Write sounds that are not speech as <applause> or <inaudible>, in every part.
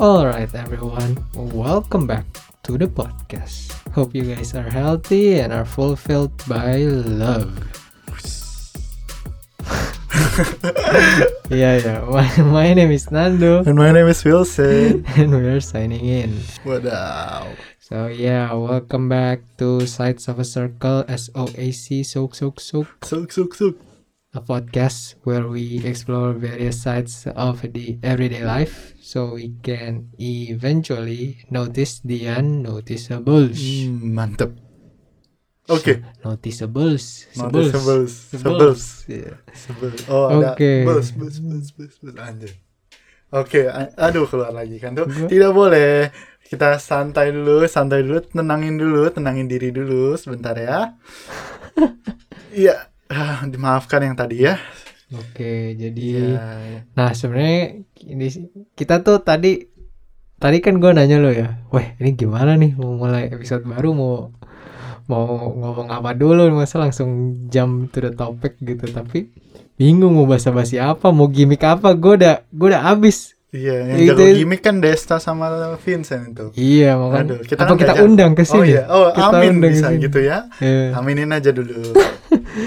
Alright everyone, welcome back to the podcast. Hope you guys are healthy and are fulfilled by love. yeah, yeah. My, my name is Nando And my name is Wilson. and we're signing in. Wadaw. So yeah, welcome back to Sides of a Circle SOAC Soak Soak Soak, Sook, sook, sook. a podcast where we explore various sides of the everyday life so we can eventually notice the unnoticeables. Mm, mantep. Oke. Noticeables. Sebles. Noticeables. Sebles. Yeah. Sebles. Oh, ada. Oke. Bus, bus, bus, bus, bus. Anjir. Oke, a- aduh keluar lagi kan tuh. Gua- Tidak boleh. Kita santai dulu, santai dulu, tenangin dulu, tenangin diri dulu sebentar <laughs> ya. Iya, Ah, dimaafkan yang tadi ya. Oke, jadi Iya. nah sebenarnya ini- kita tuh tadi tadi kan gue nanya lo ya, weh ini gimana nih mau mulai episode baru mau mau ngomong apa dulu masa langsung jam to the topic gitu tapi bingung mau basa-basi apa mau gimmick apa gue udah gue udah abis Iya, yang Itu- jago gimmick kan Desta sama Vincent itu. iya makanya Aduh, kita apa kan kita diajak. undang ke Oh sini iya, oh Kita amin undang ke bisa sini. gitu ya. Iya. Aminin aja <laughs> dulu.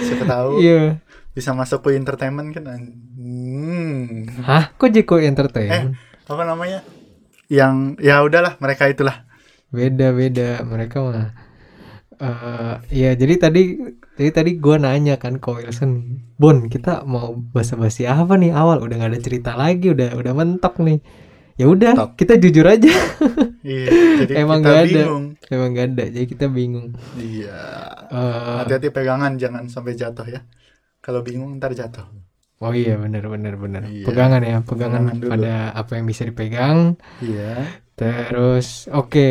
Siapa tahu iya bisa masuk ke entertainment kan. an- Hmm. Eh, hah kok Jeko entertain Apa namanya? Yang ya udahlah mereka itulah. beda-beda mereka mah eh ya jadi tadi jadi tadi gue nanya kan ke Wilson Bon kita mau basa-basi apa nih awal udah gak ada cerita lagi udah udah mentok nih ya udah Mentok. kita jujur aja <laughs> Iya, jadi Emang kita nggak ada. bingung. emang gak ada jadi kita bingung Iya. Eh Hati-hati pegangan jangan sampai jatuh ya. Kalau bingung ntar jatuh. oh iya benar benar benar Iya. pegangan ya pegangan Pegangan dulu. pada apa yang bisa dipegang Iya. terus oke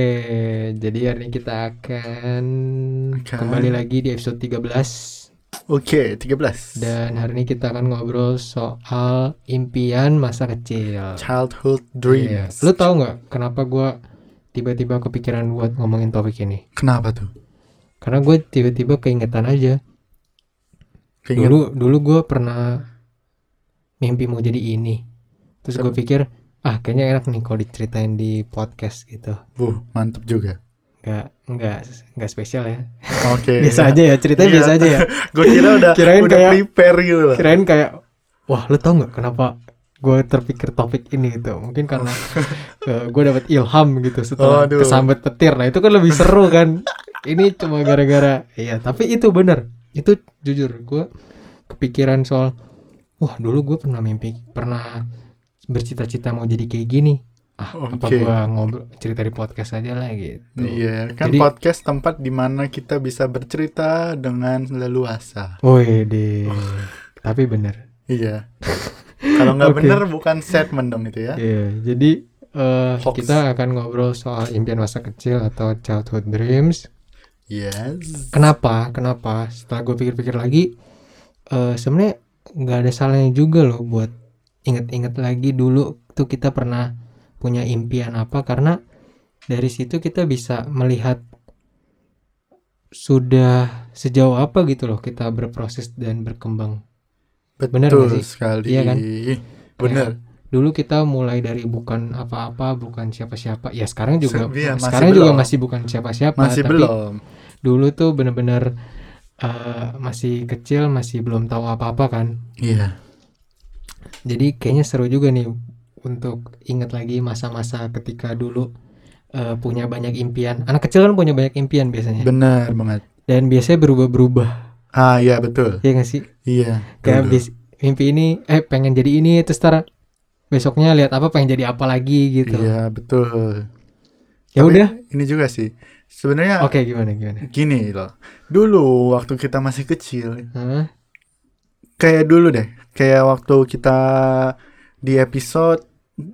jadi hari ini kita akan Akan. kembali lagi di episode 13 Oke, 13. Dan hari ini kita akan ngobrol soal impian masa kecil. Childhood Iya. dreams. Lu tau nggak kenapa gua tiba-tiba kepikiran buat ngomongin topik ini? Kenapa tuh? Karena gue tiba-tiba keingetan aja. Keinget- Dulu dulu gue pernah mimpi mau jadi ini. Terus gue pikir ah kayaknya enak nih kalau diceritain di podcast gitu. Wuh, mantep juga. Nggak nggak nggak spesial ya. Oke. Biasa aja ya ceritanya Iya. biasa aja ya. Gue kira udah Kirain udah kayak- prepare gitu loh. kirain kayak wah lu tau nggak kenapa gue terpikir topik ini gitu mungkin karena <laughs> gue dapat ilham gitu setelah Aduh. kesambet petir nah itu kan lebih seru kan ini cuma gara-gara iya tapi itu bener itu jujur gue kepikiran soal wah dulu gue pernah mimpi pernah bercita-cita mau jadi kayak gini ah apa Oke. gue ngobrol cerita di podcast aja lah gitu Iya, kan Jadi- podcast tempat di mana kita bisa bercerita dengan leluasa. woi deh tapi bener Iya. Kalau <laughs> nggak Oke. bener bukan statement dong itu ya. Iya, jadi eh, Hoax. kita akan ngobrol soal impian masa kecil atau childhood dreams. Iya. Yes. Kenapa? Kenapa? Setelah gue pikir-pikir lagi, eh sebenarnya nggak ada salahnya juga loh buat inget-inget lagi dulu tuh kita pernah punya impian apa karena dari situ kita bisa melihat sudah sejauh apa gitu loh kita berproses dan berkembang. Betul Bener nggak sih? sekali. Iya kan? Iya. Bener. dulu kita mulai dari bukan apa-apa, bukan siapa-siapa. Ya sekarang juga Se- iya, masih sekarang juga belum. masih bukan siapa-siapa, Masih Ah, tapi belum. dulu tuh bener-bener eh, masih kecil, masih belum tahu apa-apa kan. Iya. Jadi kayaknya seru juga nih untuk ingat lagi masa-masa ketika dulu eh, punya banyak impian. Anak kecil kan punya banyak impian biasanya. Bener banget. Dan biasanya berubah-berubah. Ah iya betul. Ya nggak sih? Iya. Kayak Dulu. bis- mimpi ini eh pengen jadi ini terus ntar besoknya lihat apa pengen jadi apa lagi gitu. Iya betul. Ya Tapi udah. Ini juga sih. Sebenarnya Oke, gimana gimana? gini loh. Dulu waktu kita masih kecil, Hah? kayak dulu deh kayak waktu kita di episode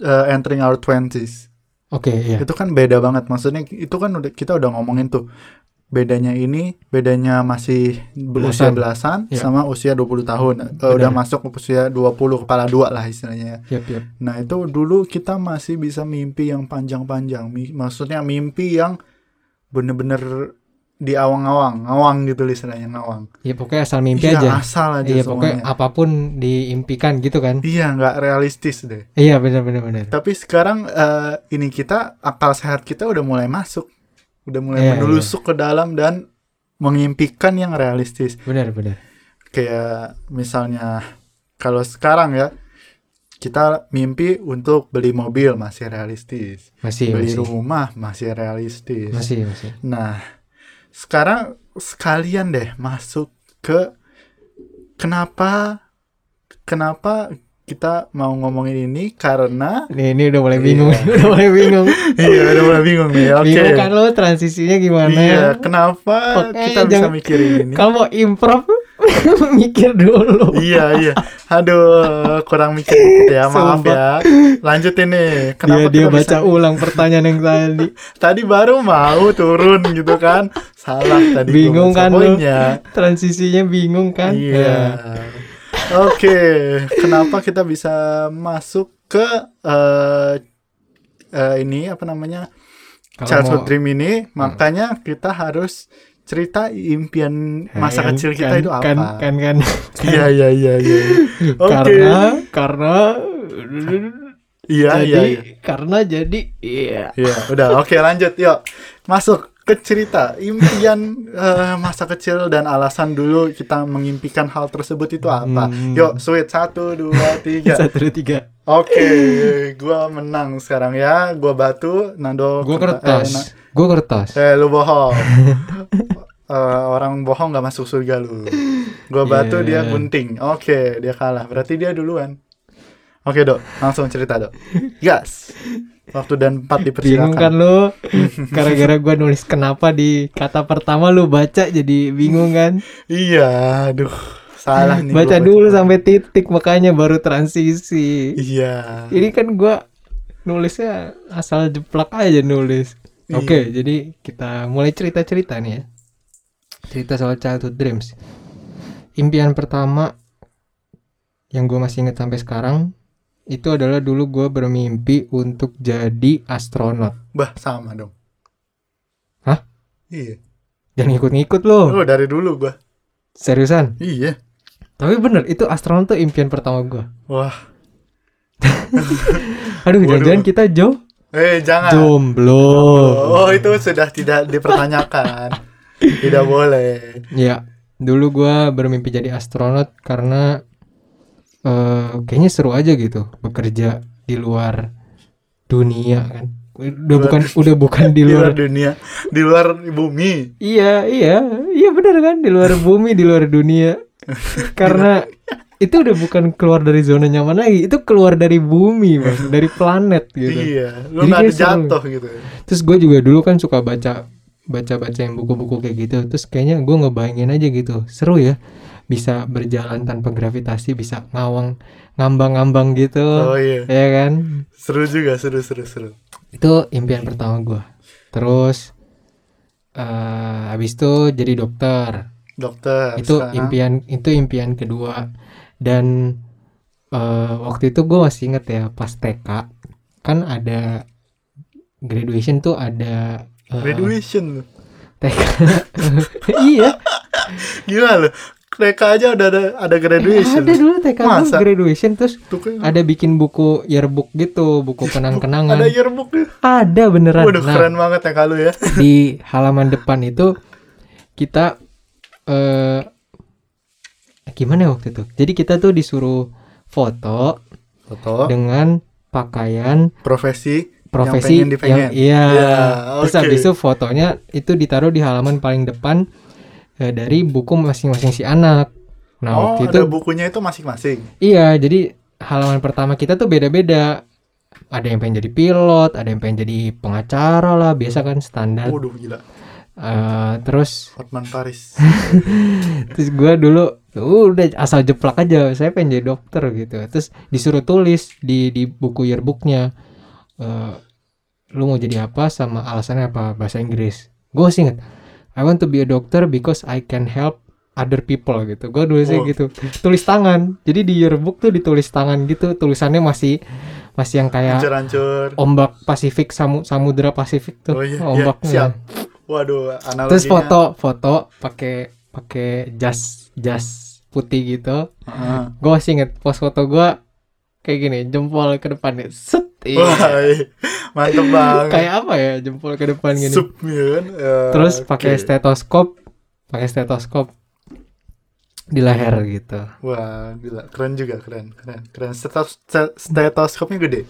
uh, entering our twenties Oke, iya. itu kan beda banget maksudnya itu kan udah kita udah ngomongin tuh bedanya ini bedanya masih berusia Belasan. belasan Iya. sama usia 20 tahun Eh, Benar. udah masuk ke usia 20 kepala dua lah istilahnya Yap, yap. nah itu dulu kita masih bisa mimpi yang panjang-panjang Mi- maksudnya mimpi yang bener-bener di awang-awang, ngawang gitu lah istilahnya ngawang. ya pokoknya asal mimpi Iya, aja asal aja iya pokoknya semuanya. apapun diimpikan gitu kan Iya, nggak realistis deh. iya benar benar benar Tapi sekarang eh, ini kita akal sehat kita udah mulai masuk, udah Iya, mulai menelusuk ke dalam dan mengimpikan yang realistis. benar benar Kayak misalnya kalau sekarang ya kita mimpi untuk beli mobil masih realistis, masih beli masih rumah masih Iya realistis. masih masih Nah, sekarang sekalian deh masuk ke kenapa kenapa kita mau ngomongin ini karena Nih, ini udah mulai bingung <laughs> Iya. udah mulai bingung <laughs> iya udah mulai bingung nih. <laughs> Oke. bingung kan lo transisinya gimana Iya, kenapa Oke, kita bisa jangan- mikirin <laughs> ini? kalau mau improv <laughs> mikir dulu Iya, iya. Aduh, kurang mikir dikit ya, maaf Sumpah. ya. Lanjutin nih. dia Kenapa dia kita baca bisa- ulang pertanyaan yang tadi tadi baru mau turun gitu kan? Salah tadi. gua Bingung baca kan lu? poinnya. transisinya bingung kan Iya. Oke, kenapa kita bisa masuk ke eh eh, ini apa namanya Kalau mau- childhood Hmm. dream ini? Makanya kita harus cerita impian masa Kan- kecil kita kan- itu apa? kan kan kan Iya iya iya iya. <laughs> Oke. karena karena <laughs> Iya iya. jadi iya. karena jadi iya Iya, udah oke lanjut yuk. Masuk ke cerita impian eh, masa kecil dan alasan dulu kita mengimpikan hal tersebut itu apa. Hmm. Yuk, sweet satu dua tiga. <laughs> satu dua tiga Oke, gua menang sekarang ya. Gua batu, Nando. gue kerta- kertas eh, na- gue kertas Eh, lu <laughs> bohong. Eh, orang bohong gak masuk surga lu. Gua Iya. batu, Yeah. dia gunting. Oke, dia kalah. Berarti dia duluan. Oke, Dok. Langsung cerita, Dok. Gas. Waktu dan empat bingung kan dipersilakan. lo <laughs> gara-gara gue nulis kenapa di kata pertama lu baca jadi bingung kan Iya, aduh. Salah nih. baca gua dulu sampai titik makanya baru transisi Iya. ini kan gue nulisnya asal jeplak aja nulis Iya. oke jadi kita mulai cerita cerita nih ya cerita soal childhood dreams impian pertama yang gue masih ingat sampai sekarang itu adalah dulu gue bermimpi untuk jadi astronot Bah, sama dong. Hah? Iya. jangan ikut-ikut lo Oh, dari dulu gua. seriusan Iya. Tapi bener, itu astronot tuh impian pertama gua Wah. Aduh, Waduh. jangan-jangan kita jo Eh, jangan. jomblo. Oh, itu sudah tidak <laughs> dipertanyakan. tidak boleh. Ya, dulu gua bermimpi jadi astronot karena eh, kayaknya seru aja gitu bekerja di luar dunia kan. Udah Luar- bukan udah bukan di <laughs> Di luar. luar dunia, di luar bumi. Iya, iya, iya bener kan di luar bumi, di luar <laughs> dunia. Karena itu udah bukan keluar dari zona nyaman lagi, itu keluar dari bumi, Bang, dari planet gitu. Iya, lu Jadi nggak ada kayak seru. jatuh gitu. Terus gue juga dulu kan suka baca baca-baca yang buku-buku kayak gitu. Terus kayaknya gue ngebayangin aja gitu. Seru ya. Bisa berjalan tanpa gravitasi, bisa ngawang ngambang-ngambang gitu. Oh iya, Ya kan? seru juga, seru seru seru. Itu impian pertama gue. Terus eh habis itu jadi dokter. Dokter. itu sekarang. impian itu impian kedua. Dan eh, waktu itu gue masih inget ya pas TK kan ada graduation tuh ada eh, Graduation lu. <laughs> TK iya Gila lu. TK aja udah ada ada Eh, graduation. ada dulu TK gua Masa? graduation terus Tuh kan, ada bikin buku yearbook gitu <laughs> buku kenang-kenangan ada ada, yearbook ya. beneran Waduh Nah, keren banget TK lu ya. di halaman depan itu kita eh gimana ya waktu itu jadi kita tuh disuruh foto Foto, dengan pakaian profesi, profesi yang pengen dipengen. iya Ya, terus oke. habis itu fotonya itu ditaruh di halaman paling depan eh, dari buku masing-masing si anak nah oh, waktu itu ada bukunya itu masing-masing. Iya, jadi halaman pertama kita tuh beda-beda. Ada yang pengen jadi pilot, ada yang pengen jadi pengacara lah, biasa kan standar. Waduh gila, Eh, terus, Hotman Paris. terus gue dulu udah asal jeplak aja, saya pengen jadi dokter gitu. Terus disuruh tulis di di buku yearbooknya, eh, lu mau jadi apa sama alasannya apa bahasa Inggris. Gue sih inget, I want to be a doctor because I can help other people gitu. Gue nulisnya Oh. gitu, tulis tangan. Jadi di yearbook tuh ditulis tangan gitu, tulisannya masih masih yang kayak Hancur-hancur. Oh, ombak Pasifik samu, samudra Pasifik tuh Oh iya, iya, ombaknya siap. Waduh, analoginya. Terus foto, foto pakai pakai jas jas putih gitu. Heeh. Gue masih inget pos foto gue kayak gini, jempol ke depan nih. Set. iya. Wah, mantep banget. Kayak apa ya, jempol ke depan gini. Sup, ya kan? Eh, Terus pakai oke. stetoskop, pakai stetoskop di leher gitu. Wah, gila. Keren juga, keren. Keren. Keren. Stetos ste- stetoskopnya gede.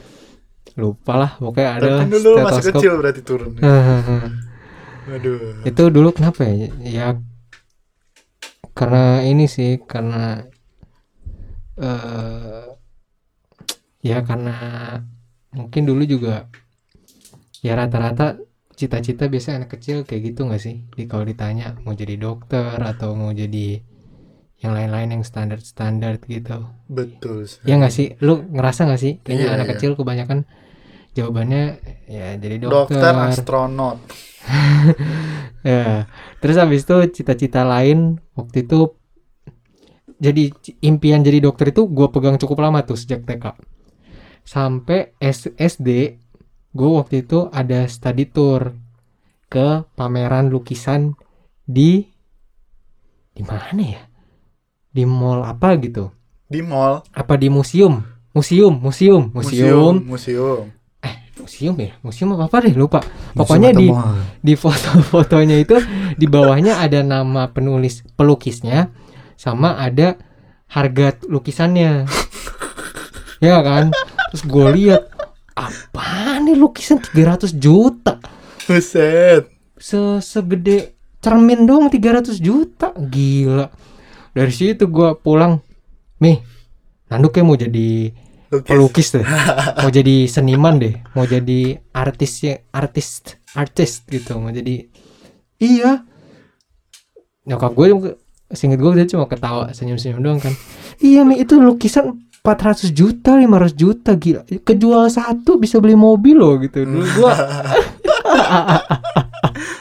Lupa lah, pokoknya ada Tapi lah kan dulu masih stetoskop. kecil berarti turun. <laughs> Waduh. itu dulu kenapa ya ya karena ini sih karena eh ya karena mungkin dulu juga ya rata-rata cita-cita biasanya anak kecil kayak gitu nggak sih di kalau ditanya mau jadi dokter atau mau jadi yang lain-lain yang standar-standar gitu Betul sih. ya nggak sih lu ngerasa nggak sih kayaknya Iya, anak iya. kecil kebanyakan jawabannya ya jadi Dokter, astronot. Ya, terus habis itu cita-cita lain waktu itu jadi c- impian jadi dokter itu gua pegang cukup lama tuh sejak TK sampai S- SD. Gue waktu itu ada study tour ke pameran lukisan di di mana ya? Di mall apa gitu? Di mall. Apa di museum? Museum, museum, museum, Museum. museum ya, museum apa apa deh lupa. Pokoknya di di foto-fotonya itu di bawahnya ada nama penulis pelukisnya sama ada harga lukisannya ya kan terus gue lihat apa nih lukisan 300 juta Buset. Se- segede cermin dong 300 juta gila dari situ gue pulang nih Nanduknya mau jadi Lukis. pelukis deh mau jadi seniman deh mau jadi artis ya- artis artis gitu mau jadi iya nyokap gue juga- seinget gue dia cuma ketawa senyum-senyum doang kan iya mi itu lukisan 400 juta 500 juta gila kejual satu bisa beli mobil loh gitu dulu <laughs> gue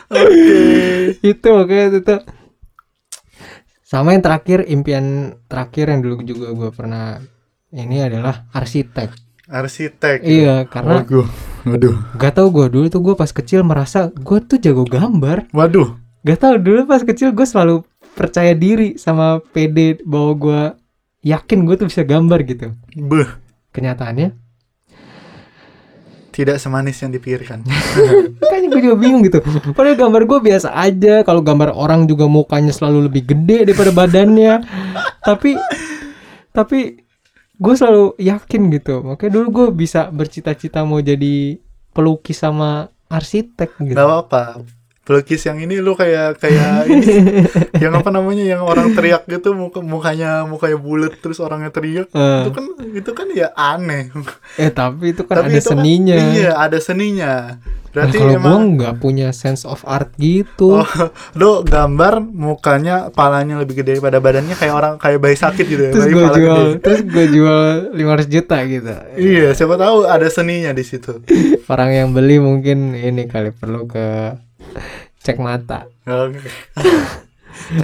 Oke. itu oke itu tuh. sama yang terakhir impian terakhir yang dulu juga gue pernah ini adalah arsitek Arsitek. iya karena Waduh. Waduh. Gak tau gue dulu tuh gue pas kecil merasa gue tuh jago gambar. Waduh. Gak tau dulu pas kecil gue selalu percaya diri sama pede bahwa gue yakin gue tuh bisa gambar gitu. Beuh. Kenyataannya Tidak semanis yang <laughs> dipikirkan. Gitu. makanya gue juga bingung gitu. Padahal gambar gue biasa aja. Kalau gambar orang juga mukanya selalu lebih gede daripada badannya. tapi tapi gue selalu yakin gitu. Makanya dulu gue bisa bercita-cita mau jadi pelukis sama arsitek gitu. Gak apa-apa. Pelukis yang ini lu kayak kayak <laughs> ini yang apa namanya yang orang teriak gitu muka mukanya mukanya bulat terus orangnya teriak Eh. itu kan itu kan ya aneh. Eh tapi itu kan ada itu kan- seninya. iya, ada seninya. Nah, Berarti kalau gue emang nggak punya sense of art gitu. <laughs> oh, lu gambar mukanya palanya lebih gede daripada badannya kayak orang kayak bayi sakit gitu ya, terus bayi gue pala jual, gede. terus gue jual 500 juta <laughs> gitu. Iya, siapa tahu ada seninya di <laughs> situ. Orang yang beli mungkin ini kali perlu ke cek mata. Oke.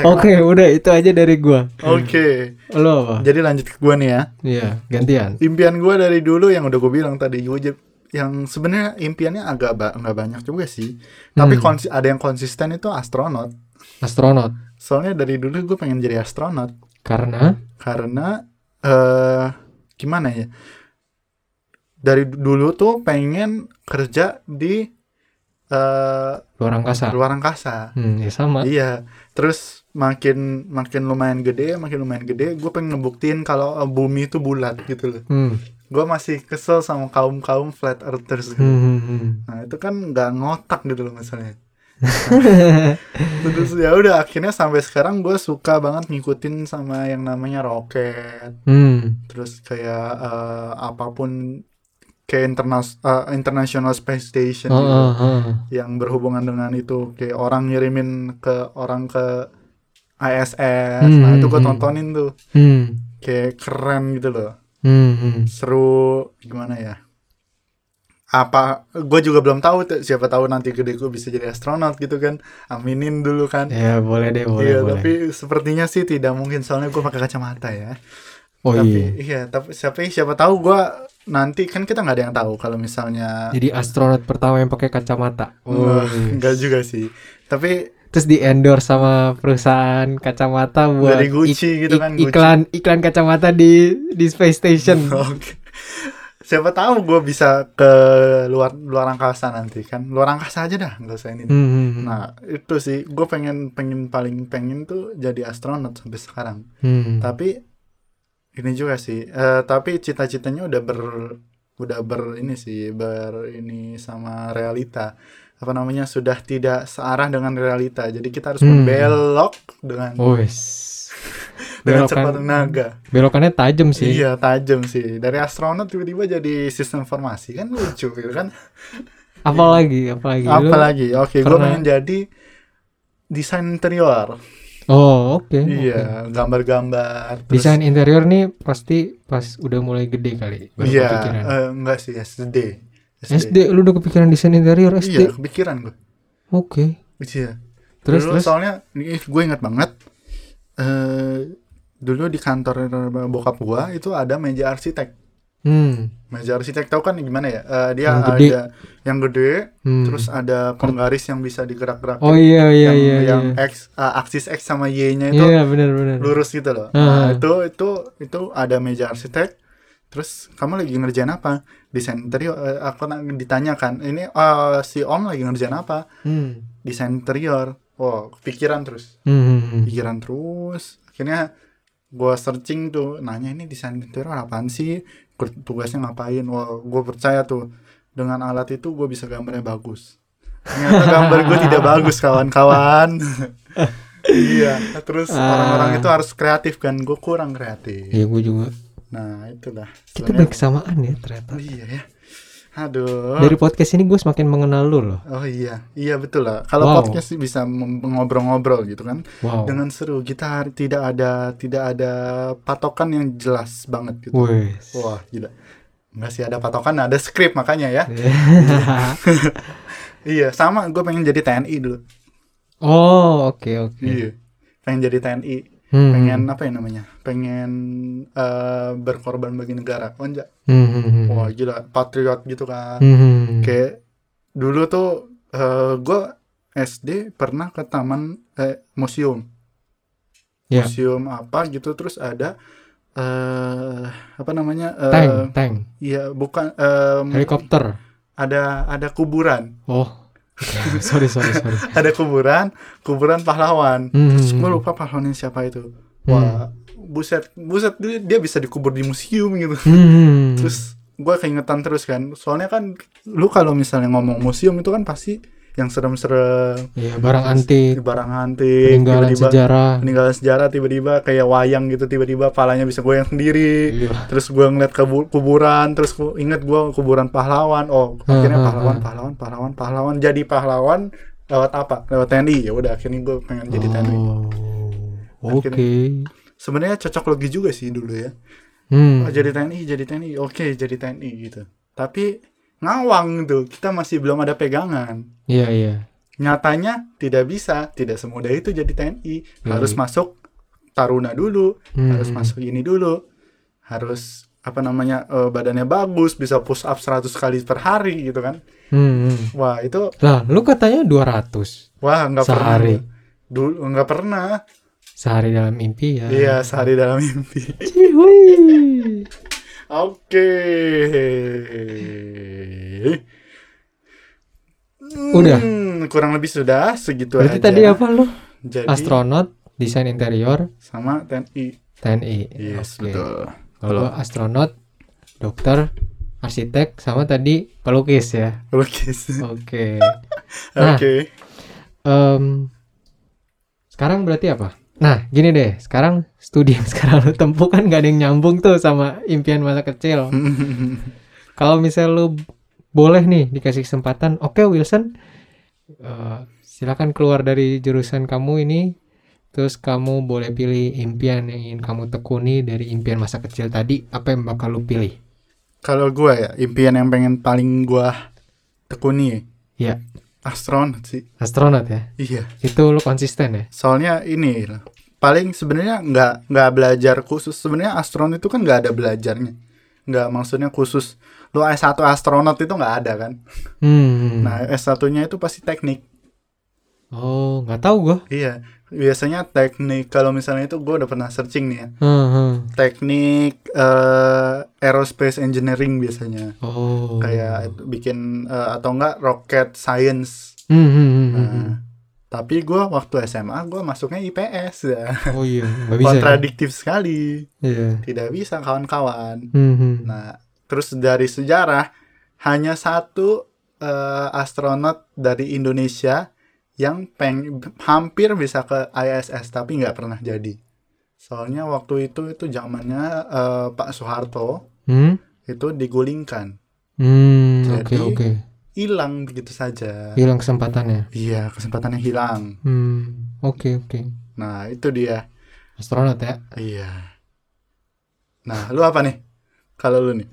Oke, udah itu aja dari gua. Oke. Lo apa? Jadi lanjut ke gua nih ya. Iya, gantian. impian gue dari dulu yang udah gue bilang tadi gue je- yang sebenarnya impiannya agak ba- nggak banyak juga sih tapi konsi- ada yang konsisten itu astronot Astronot. soalnya dari dulu gue pengen jadi astronot Karena karena eh gimana ya dari dulu tuh pengen kerja di eh luar angkasa. luar angkasa Hmm, ya sama. iya terus makin makin lumayan gede makin lumayan gede gue pengen ngebuktiin kalau eh, bumi itu bulat gitu loh Hmm. gue masih kesel sama kaum kaum flat earthers gitu. Hmm, hmm, hmm. Nah itu kan nggak ngotak gitu loh <laughs> misalnya. Terus ya udah akhirnya sampai sekarang gue suka banget ngikutin sama yang namanya roket. Hmm. Terus kayak eh, apapun kayak internas eh, international space station Oh, gitu, oh, oh. yang berhubungan dengan itu kayak orang ngirimin ke orang ke ISS. Hmm, nah itu gue hmm. tontonin tuh Hmm. kayak keren gitu loh. Hmm, hmm. seru gimana ya apa gue juga belum tahu tuh, siapa tahu nanti gede gue bisa jadi astronot gitu kan aminin dulu kan Ya boleh deh, boleh, iya boleh. tapi sepertinya sih tidak mungkin soalnya gue pakai kacamata ya oh iya. tapi iya tapi siapa siapa tahu gue nanti kan kita nggak ada yang tahu kalau misalnya Jadi astronot pertama yang pakai kacamata. Nggak- Wih. nggak juga sih tapi Terus di endorse sama perusahaan kacamata buat Dari Gucci ik- gitu ik- kan, Gucci. iklan iklan kacamata di di space station. <laughs> Oke. siapa tahu gue bisa ke luar luar angkasa nanti kan luar angkasa aja dah nggak usah ini Hmm, hmm, hmm. nah itu sih gue pengen pengen paling pengen tuh jadi astronot sampai sekarang Hmm. tapi ini juga sih eh, tapi cita-citanya udah ber udah ber ini sih ber ini sama realita apa namanya sudah tidak searah dengan realita jadi kita harus Hmm. Oh, membelok dengan Wes. <laughs> dengan Belokan- cepat naga Belokannya tajam kan? sih. iya tajam sih dari astronot tiba-tiba jadi sistem informasi kan lucu gitu kan Apalagi, apalagi. Lu- apalagi oke gue pernah- pengen jadi desain interior Oh, oke. oke. iya gambar-gambar terus- Desain interior nih pasti pas udah mulai gede kali. baru iya kepikiran. eh, enggak sih SD SD lu udah kepikiran desain interior Iya, SD. kepikiran gue. Oke. Iya. Terus dulu terus. soalnya ih, gue inget banget eh dulu di kantor bokap gua itu ada meja arsitek. Hmm. Meja arsitek tahu kan gimana ya? Eh, dia Yang ada gede. yang gede, hmm. terus ada penggaris yang bisa digerak-gerak. Oh iya iya yang iya. yang iya. X eh, aksis X sama Y-nya itu Iya benar benar. lurus gitu loh. Ah. Nah, itu itu itu ada meja arsitek. Terus kamu lagi ngerjain apa? Desain interior. Eh, aku na- ditanyakan, ini eh, si Om lagi ngerjain apa? Hmm. Desain interior. Wow, pikiran terus, Hmm, hmm, hmm. pikiran terus. Akhirnya gua searching tuh, nanya ini desain interior apaan sih? Ker- Tugasnya ngapain? Wah, gue percaya tuh dengan alat itu gue bisa gambarnya bagus. Ternyata gambar gue tidak <laughs> bagus kawan-kawan. iya, terus Ah. orang-orang itu harus kreatif kan, gue kurang kreatif. Iya gue juga. Nah itulah. Kita Sebenarnya- berkesamaan ya ternyata. Iya ya. Aduh. Dari podcast ini gue semakin mengenal lu loh. Oh iya, iya betul lah. Kalau Wow. podcast sih bisa mem- ngobrol-ngobrol gitu kan. Wow. dengan seru kita har- tidak ada tidak ada patokan yang jelas banget gitu Wes. wah gila nggak sih ada patokan ada skrip makanya ya iya sama gue pengen jadi TNI dulu <laughs> oh oke oke. iya pengen jadi TNI Hmm, pengen apa ya namanya pengen eh, berkorban bagi negara oh enggak hmm, hmm, hmm. wah gila patriot gitu kan Hmm, hmm, hmm. kayak dulu tuh eh, gue SD pernah ke taman eh, museum Ya. museum apa gitu terus ada eh apa namanya eh, Tank tank ya bukan em, helikopter. ada ada kuburan <laughs> Oh. sorry sorry sorry. ada kuburan kuburan pahlawan Hmm, terus hmm, gue hmm. lupa pahlawannya siapa itu Hmm. wah buset buset dia, dia bisa dikubur di museum gitu Hmm, hmm. terus gue keingetan terus kan soalnya kan lu kalau misalnya ngomong museum itu kan pasti yang serem-serem Iya barang antik, barang antik peninggalan sejarah. peninggalan sejarah tiba-tiba kayak wayang gitu tiba-tiba palanya bisa goyang sendiri Iya. terus gue ngeliat kebu- kuburan terus ku- inget gue kuburan pahlawan oh akhirnya Hmm, pahlawan hmm, pahlawan pahlawan pahlawan jadi pahlawan lewat apa lewat TNI ya udah akhirnya gue pengen jadi TNI Oh. Oke. sebenarnya cocok logi juga sih dulu ya Hmm. Oh, jadi TNI jadi TNI oke jadi TNI gitu tapi ngawang tuh kita masih belum ada pegangan Iya iya. nyatanya tidak bisa tidak semudah itu jadi TNI harus Yoi. masuk taruna dulu Hmm. harus masuk ini dulu harus apa namanya eh, badannya bagus bisa push up 100 kali per hari gitu kan Hmm, hmm. wah itu Lah, lu katanya 200 wah nggak pernah Sehari. dulu nggak pernah sehari dalam mimpi ya. iya sehari dalam mimpi <laughs> Cihui. oke Udah? Hmm, kurang lebih sudah segitu Berarti aja tadi apa lu? jadi Astronot, desain interior, sama TNI TNI. yes Oke. betul Kalau astronot, dokter, arsitek sama tadi pelukis ya. lukis oke <laughs> Oke. Nah. Em, sekarang berarti apa? Nah, gini deh. Sekarang studi yang <laughs> sekarang lu tempuh kan gak ada yang nyambung tuh sama impian masa kecil. kalau misalnya lu boleh nih dikasih kesempatan, oke Wilson, eh, silakan keluar dari jurusan kamu ini, terus kamu boleh pilih impian yang ingin kamu tekuni dari impian masa kecil tadi, apa yang bakal lu pilih? Kalau gua ya, impian yang pengen paling gua tekuni Ya, astronot sih. astronot ya. Iya. Itu lu konsisten ya? Soalnya ini lah, paling sebenarnya nggak nggak belajar khusus. Sebenarnya astronot itu kan nggak ada belajarnya. nggak maksudnya khusus lu S1 astronot itu nggak ada kan Hmm. nah S1-nya itu pasti teknik Oh, nggak tahu gua. Iya, biasanya teknik kalau misalnya itu gue udah pernah searching nih ya. Heeh. Teknik eh, aerospace engineering biasanya. Oh. Kayak itu bikin eh, atau enggak rocket science. Hmm, hmm, hmm, Nah, hmm, hmm. tapi gue waktu SMA gue masuknya IPS <laughs> ya. Oh iya, nggak bisa. ya? Kontradiktif sekali. Iya. Tidak bisa kawan-kawan. Hmm, hmm. Nah, terus dari sejarah hanya satu eh, astronot dari Indonesia yang peng hampir bisa ke ISS tapi nggak pernah jadi. Soalnya waktu itu itu zamannya eh, Pak Soeharto Hmm? itu digulingkan, Hmm, oke Jadi- oke. hilang begitu saja. Hilang kesempatannya. Iya, kesempatannya hilang. Hmm, oke oke. Nah, itu dia. Astronot ya. Iya. Nah, lu apa nih? Kalau lu nih.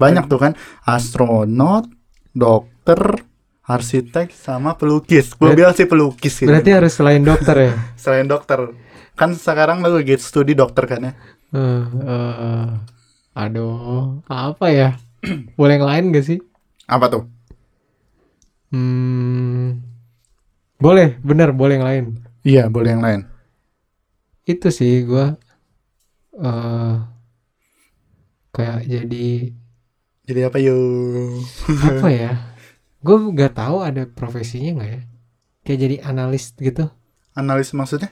Banyak tuh kan astronot, dokter, arsitek sama pelukis. Gue Berarti- bilang sih pelukis gitu. Berarti harus selain dokter ya. <laughs> Selain dokter. Kan sekarang lu lagi studi dokter kan ya? Eh, eh, aduh, apa ya? <clears throat> Boleh yang lain gak sih? Apa tuh? Hmm, boleh, bener boleh yang lain. Iya, boleh yang lain. Itu sih gua eh kayak jadi Jadi apa yuk? apa ya? Gue nggak tahu ada profesinya nggak ya? Kayak jadi analis gitu. Analis maksudnya?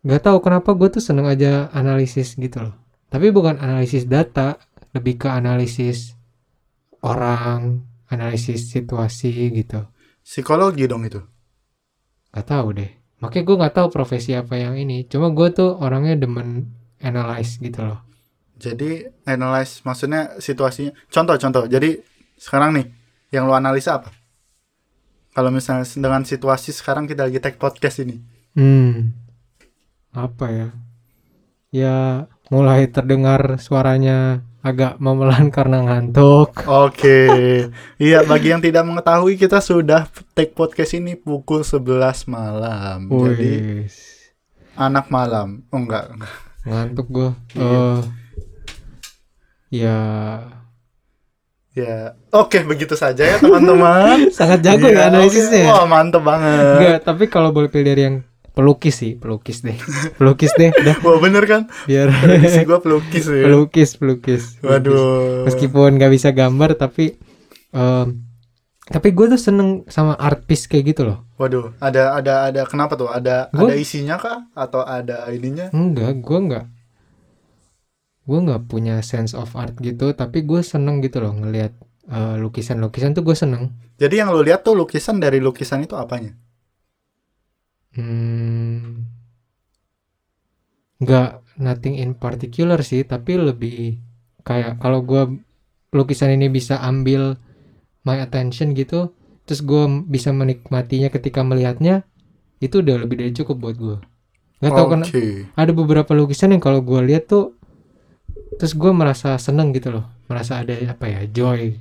nggak tahu kenapa gue tuh seneng aja analisis gitu loh tapi bukan analisis data lebih ke analisis orang analisis situasi gitu Psikologi dong itu. nggak tahu deh makanya gue nggak tahu profesi apa yang ini cuma gue tuh orangnya demen analyze gitu loh Jadi analis maksudnya situasinya. Contoh-contoh. Jadi sekarang nih yang lu analisa apa? Kalau misalnya dengan situasi sekarang kita lagi take podcast ini. hmm apa ya ya mulai terdengar suaranya agak memelan karena ngantuk <laughs> Oke. Iya, bagi yang tidak mengetahui kita sudah take podcast ini pukul 11 malam. Wih, Jadi anak malam. Oh enggak, enggak. ngantuk gue Iya. ya Ya. Oke, begitu saja ya teman-teman. sangat <laughs> jago ya Iya, analisisnya oke. Wah, mantep banget. Enggak, tapi kalau boleh pilih dari yang pelukis sih, pelukis deh. Pelukis deh, udah Wah, bener kan? biar Prediksi gua <laughs> pelukis ya. pelukis, pelukis. pelukis. Waduh. Meskipun nggak bisa gambar tapi em, tapi gue tuh seneng sama art piece kayak gitu loh. Waduh, ada ada ada kenapa tuh? Ada Gua- ada isinya kah atau ada ininya? Enggak, gue nggak gue nggak punya sense of art gitu, tapi gue seneng gitu loh ngelihat eh, lukisan-lukisan tuh gue seneng. Jadi yang lu lihat tuh lukisan dari lukisan itu apanya? Hmm, nggak nothing in particular sih, tapi lebih kayak kalau gua lukisan ini bisa ambil my attention gitu, terus gua m- bisa menikmatinya ketika melihatnya, itu udah lebih dari cukup buat gua Nggak tahu kenapa Oke. ada beberapa lukisan yang kalau gua lihat tuh, terus gua merasa seneng gitu loh, merasa ada apa ya joy.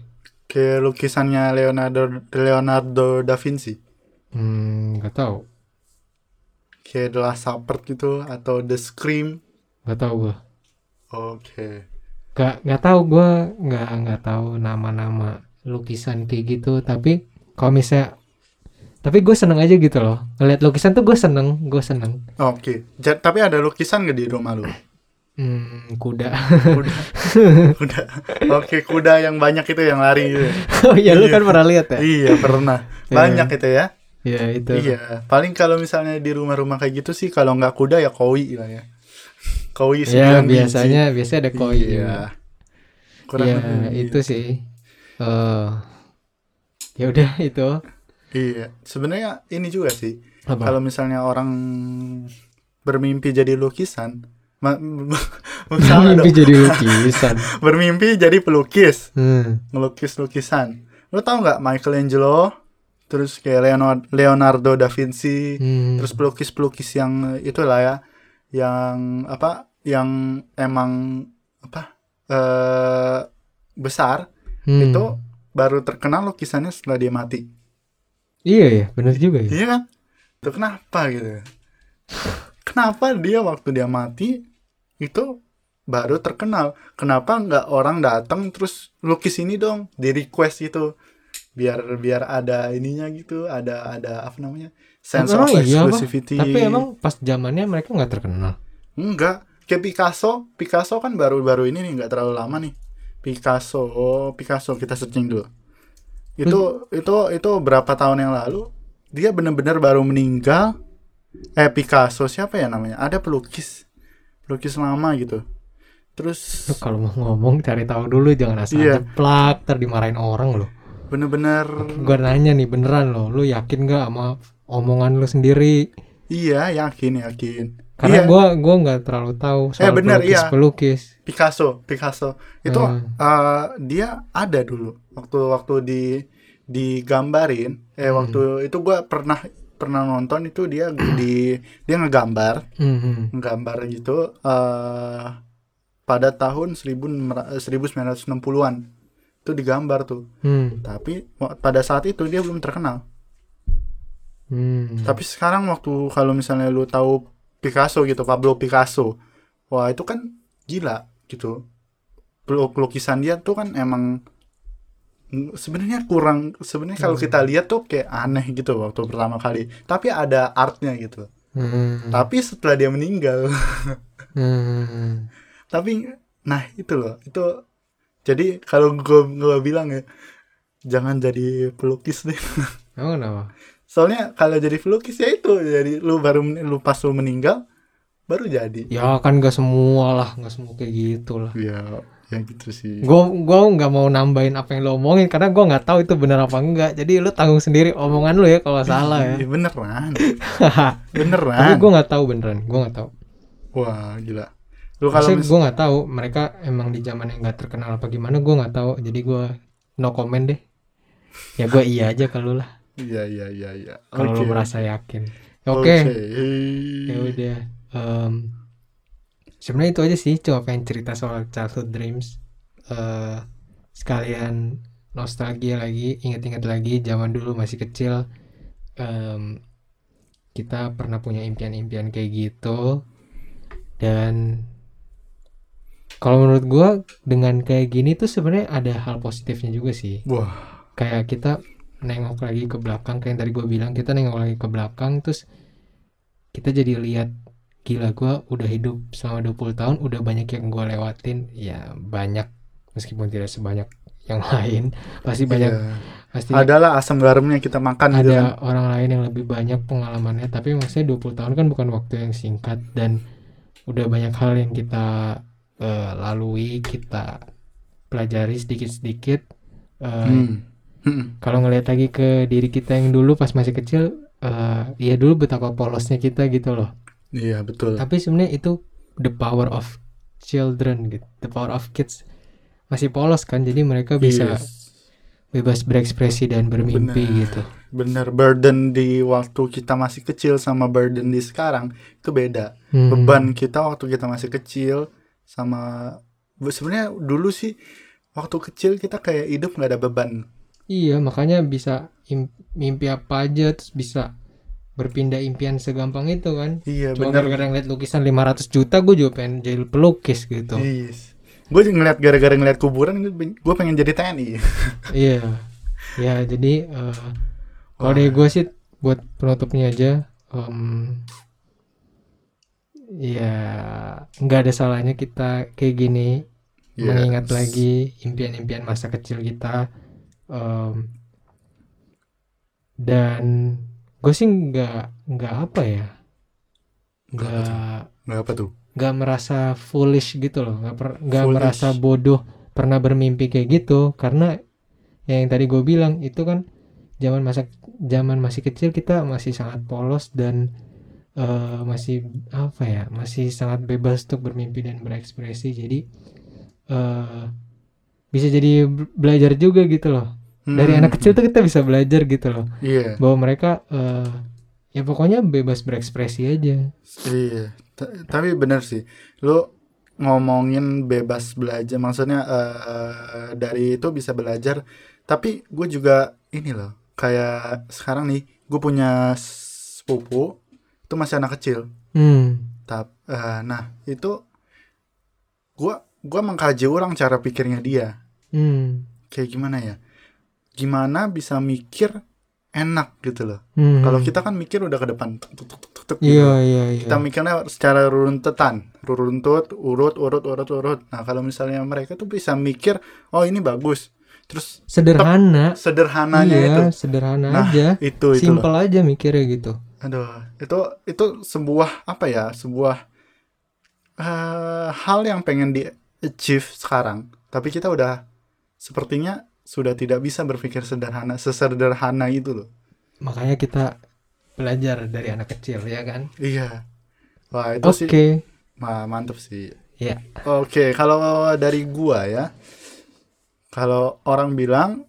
Kayak lukisannya Leonardo Leonardo da Vinci. Hmm, nggak tahu, kayak The Last Supper gitu atau The Scream. nggak tahu gua Oke. gak nggak tahu gue nggak nggak tahu nama-nama lukisan kayak gitu tapi kalau misalnya tapi gue seneng aja gitu loh ngeliat lukisan tuh gue seneng gue seneng Oke. Ja- tapi ada lukisan gak di rumah <laughs> lu? hmm, kuda <laughs> Kuda. kuda. Oke, kuda yang banyak itu yang lari gitu. ya? oh iya lu kan pernah lihat ya iya, pernah. Banyak itu ya. iya itu Iya. Paling kalau misalnya di rumah-rumah kayak gitu sih kalau nggak kuda ya koi lah ya. Koi ya sembilan biji. biasanya biasanya ada koi Iya. Kurang Iya, lebih. gitu. itu sih eh ya udah itu Iya. Sebenarnya ini juga sih. apa Kalau misalnya orang bermimpi jadi lukisan, ma- <laughs> Gua <laughs> salah dong. mimpi jadi <laughs> lukisan bermimpi jadi pelukis hmm. ngelukis lukisan lo tau nggak Michelangelo terus kayak Leonardo, Leonardo da Vinci Hmm. terus pelukis pelukis yang eh, itulah ya yang apa yang emang apa eh besar Hmm. itu baru terkenal lukisannya setelah dia mati iya ya bener juga ya iya kan itu kenapa gitu kenapa dia waktu dia mati itu baru terkenal. Kenapa nggak orang datang terus lukis ini dong di request gitu biar biar ada ininya gitu, ada ada apa namanya sense Emang of iya, Bang. exclusivity. Tapi emang pas zamannya mereka nggak terkenal. Enggak. Kayak Picasso, Picasso kan baru-baru ini nih, nggak terlalu lama nih. Picasso, oh, Picasso kita searching dulu. Itu itu itu berapa tahun yang lalu dia benar-benar baru meninggal. Eh Picasso siapa ya namanya? Ada pelukis, pelukis lama gitu. Terus Lu kalau mau ngomong cari tahu dulu jangan asal Iya. jeplak ntar dimarahin orang loh. bener-bener Gua nanya nih beneran loh, lu yakin nggak sama omongan lu sendiri? iya yakin yakin. Karena Iya. gua gua nggak terlalu tahu soal bener, pelukis iya. pelukis. Picasso, Picasso itu Hmm. eh, dia ada dulu waktu waktu di digambarin eh waktu itu gua pernah pernah nonton itu dia di dia ngegambar Mhm. ngegambar gitu eh pada tahun 1900 1960-an itu digambar tuh Hmm. tapi wa- pada saat itu dia belum terkenal Hmm. tapi sekarang waktu kalau misalnya lu tahu Picasso gitu, Pablo Picasso. Wah, itu kan gila gitu. Pelu- Pelukisan dia tuh kan emang mm, sebenarnya kurang sebenarnya kalau kita lihat tuh kayak aneh gitu waktu pertama kali. Tapi ada artnya gitu. Hmm. Tapi setelah dia meninggal, <laughs> Hmm. tapi nah itu loh, itu jadi kalau gua gua bilang ya jangan jadi pelukis deh. Emang kenapa? Soalnya kalau jadi pelukis ya itu jadi lu baru men- lu pas lu meninggal baru jadi. Ya kan gak semua lah, gak semua kayak gitu lah. Ya, ya gitu sih. Gue gua nggak mau nambahin apa yang lo omongin karena gua nggak tahu itu benar apa enggak. Jadi lu tanggung sendiri omongan lu ya kalau salah ya. Iya, <laughs> beneran. Tapi Beneran. gue nggak tahu beneran, gue nggak tahu. Wah, gila. Lu kalau Maksudnya mis- gue nggak tahu mereka emang di zaman yang nggak terkenal apa gimana gue nggak tahu. Jadi gue no comment deh. Ya gue iya aja kalau lah, Iya, iya, iya, iya. kalau lu Oke. merasa yakin. Oke, Oke. ya Hmm. udah. Em, Sebenarnya itu aja sih, cuma pengen cerita soal childhood dreams. Eh, sekalian nostalgia lagi, ingat-ingat lagi zaman dulu masih kecil. em, kita pernah punya impian-impian kayak gitu dan kalau menurut gua dengan kayak gini tuh sebenarnya ada hal positifnya juga sih Wah, kayak kita nengok lagi ke belakang kayak yang tadi gue bilang kita nengok lagi ke belakang terus kita jadi lihat gila gue udah hidup selama 20 tahun udah banyak yang gue lewatin ya banyak meskipun tidak sebanyak yang <laughs> lain pasti banyak iya. pasti Adalah asam garamnya kita makan gitu kan. ada orang lain yang lebih banyak pengalamannya tapi maksudnya 20 tahun kan bukan waktu yang singkat dan udah banyak hal yang kita eh, lalui kita pelajari sedikit-sedikit eh, Hmm. Hmm. kalau ngelihat lagi ke diri kita yang dulu pas masih kecil eh ya dulu betapa polosnya kita gitu loh Iya, betul. tapi sebenarnya itu the power of children gitu the power of kids masih polos kan jadi mereka bisa Yes. bebas berekspresi dan bermimpi Benar. gitu Bener burden di waktu kita masih kecil sama burden di sekarang itu beda. Hmm. beban kita waktu kita masih kecil sama sebenarnya dulu sih waktu kecil kita kayak hidup nggak ada beban iya makanya bisa im- mimpi apa aja terus bisa berpindah impian segampang itu kan iya cuma gara-gara ngeliat lukisan 500 juta gue juga pengen jadi pelukis Iya. gitu yes. gue ngeliat gara-gara ngeliat kuburan gue pengen jadi TNI Iya. Ya, jadi eh kalau dari gue sih buat penutupnya aja em, ya nggak ada salahnya kita kayak gini Yes. mengingat lagi impian-impian masa kecil kita em, dan gue sih nggak nggak apa ya Nggak apa nggak nggak apa tuh nggak merasa foolish gitu loh nggak per- nggak Foolish. merasa bodoh pernah bermimpi kayak gitu karena ya yang tadi gue bilang itu kan zaman masa zaman masih kecil kita masih sangat polos dan eh, masih apa ya masih sangat bebas untuk bermimpi dan berekspresi jadi eh bisa jadi be- belajar juga gitu loh dari Hmm, anak kecil tuh kita bisa belajar gitu loh iya bahwa mereka eh, ya pokoknya bebas berekspresi aja iya Ta- tapi bener sih lo ngomongin bebas belajar maksudnya eh, eh, dari itu bisa belajar tapi gue juga ini loh kayak sekarang nih gue punya sepupu itu masih anak kecil hmm Tap, eh, nah itu gua gua mengkaji orang cara pikirnya dia Hmm. kayak gimana ya gimana bisa mikir enak gitu loh Hmm. kalau kita kan mikir udah ke depan tuk, tuk, tuk, tuk, tuk, gitu. Iya, iya, iya. kita mikirnya secara runtutan runtut urut urut urut urut nah kalau misalnya mereka tuh bisa mikir oh ini bagus terus Sederhana. sederhananya iya, itu sederhana Nah, aja. itu itu loh Simpel aja mikirnya gitu. aduh itu itu sebuah apa ya sebuah eh, hal yang pengen di achieve sekarang tapi kita udah sepertinya sudah tidak bisa berpikir sederhana sesederhana itu loh Makanya kita belajar dari anak kecil ya kan. iya wah itu Oke. sih Wah, mantep sih Iya. Oke, kalau dari gua ya, kalau orang bilang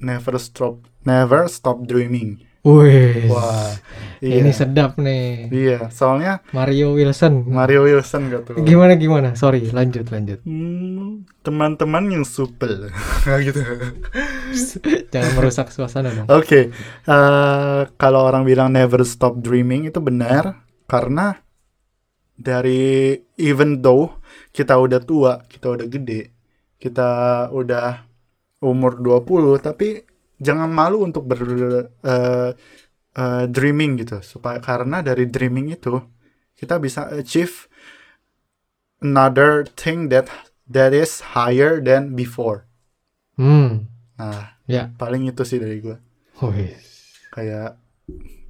never stop, never stop dreaming. Wih. Wah, iya, Ini sedap nih. iya. Soalnya Mario Wilson. Mario Wilson gitu. Gimana gimana? Sorry, lanjut lanjut. <laughs> Hmm, teman-teman yang supel, <laughs> Nggak gitu. Jangan merusak suasana dong. Oke, eh, kalau orang bilang never stop dreaming itu benar karena dari even though kita udah tua, kita udah gede, kita udah umur 20 tapi jangan malu untuk ber eh, eh, dreaming gitu supaya karena dari dreaming itu kita bisa achieve another thing that that is higher than before. Hmm. Nah, Ya. paling itu sih dari gue Wih. kayak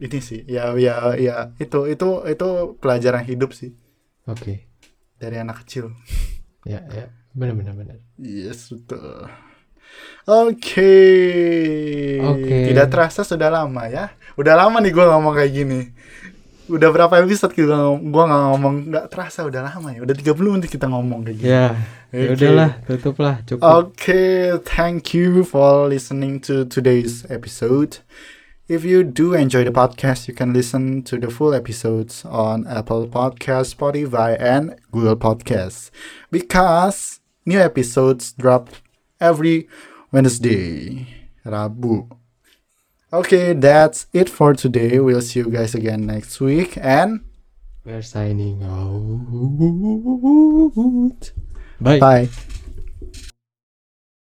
ini sih ya ya ya itu itu itu pelajaran hidup sih Oke. dari anak kecil Ya, ya. Benar benar benar. yes betul oke Oke. tidak terasa sudah lama ya udah lama nih gua ngomong kayak gini udah berapa episode kita ngom- gua nggak ngomong nggak terasa udah lama ya udah 30 menit kita ngomong kayak gini Ya. Ya Oke. udahlah, tutuplah cukup. Okay, thank you for listening to today's episode. If you do enjoy the podcast, you can listen to the full episodes on Apple Podcasts, Spotify, and Google Podcasts because new episodes drop every Wednesday. Rabu. Okay, that's it for today. We'll see you guys again next week and We're signing out. Bye. bye.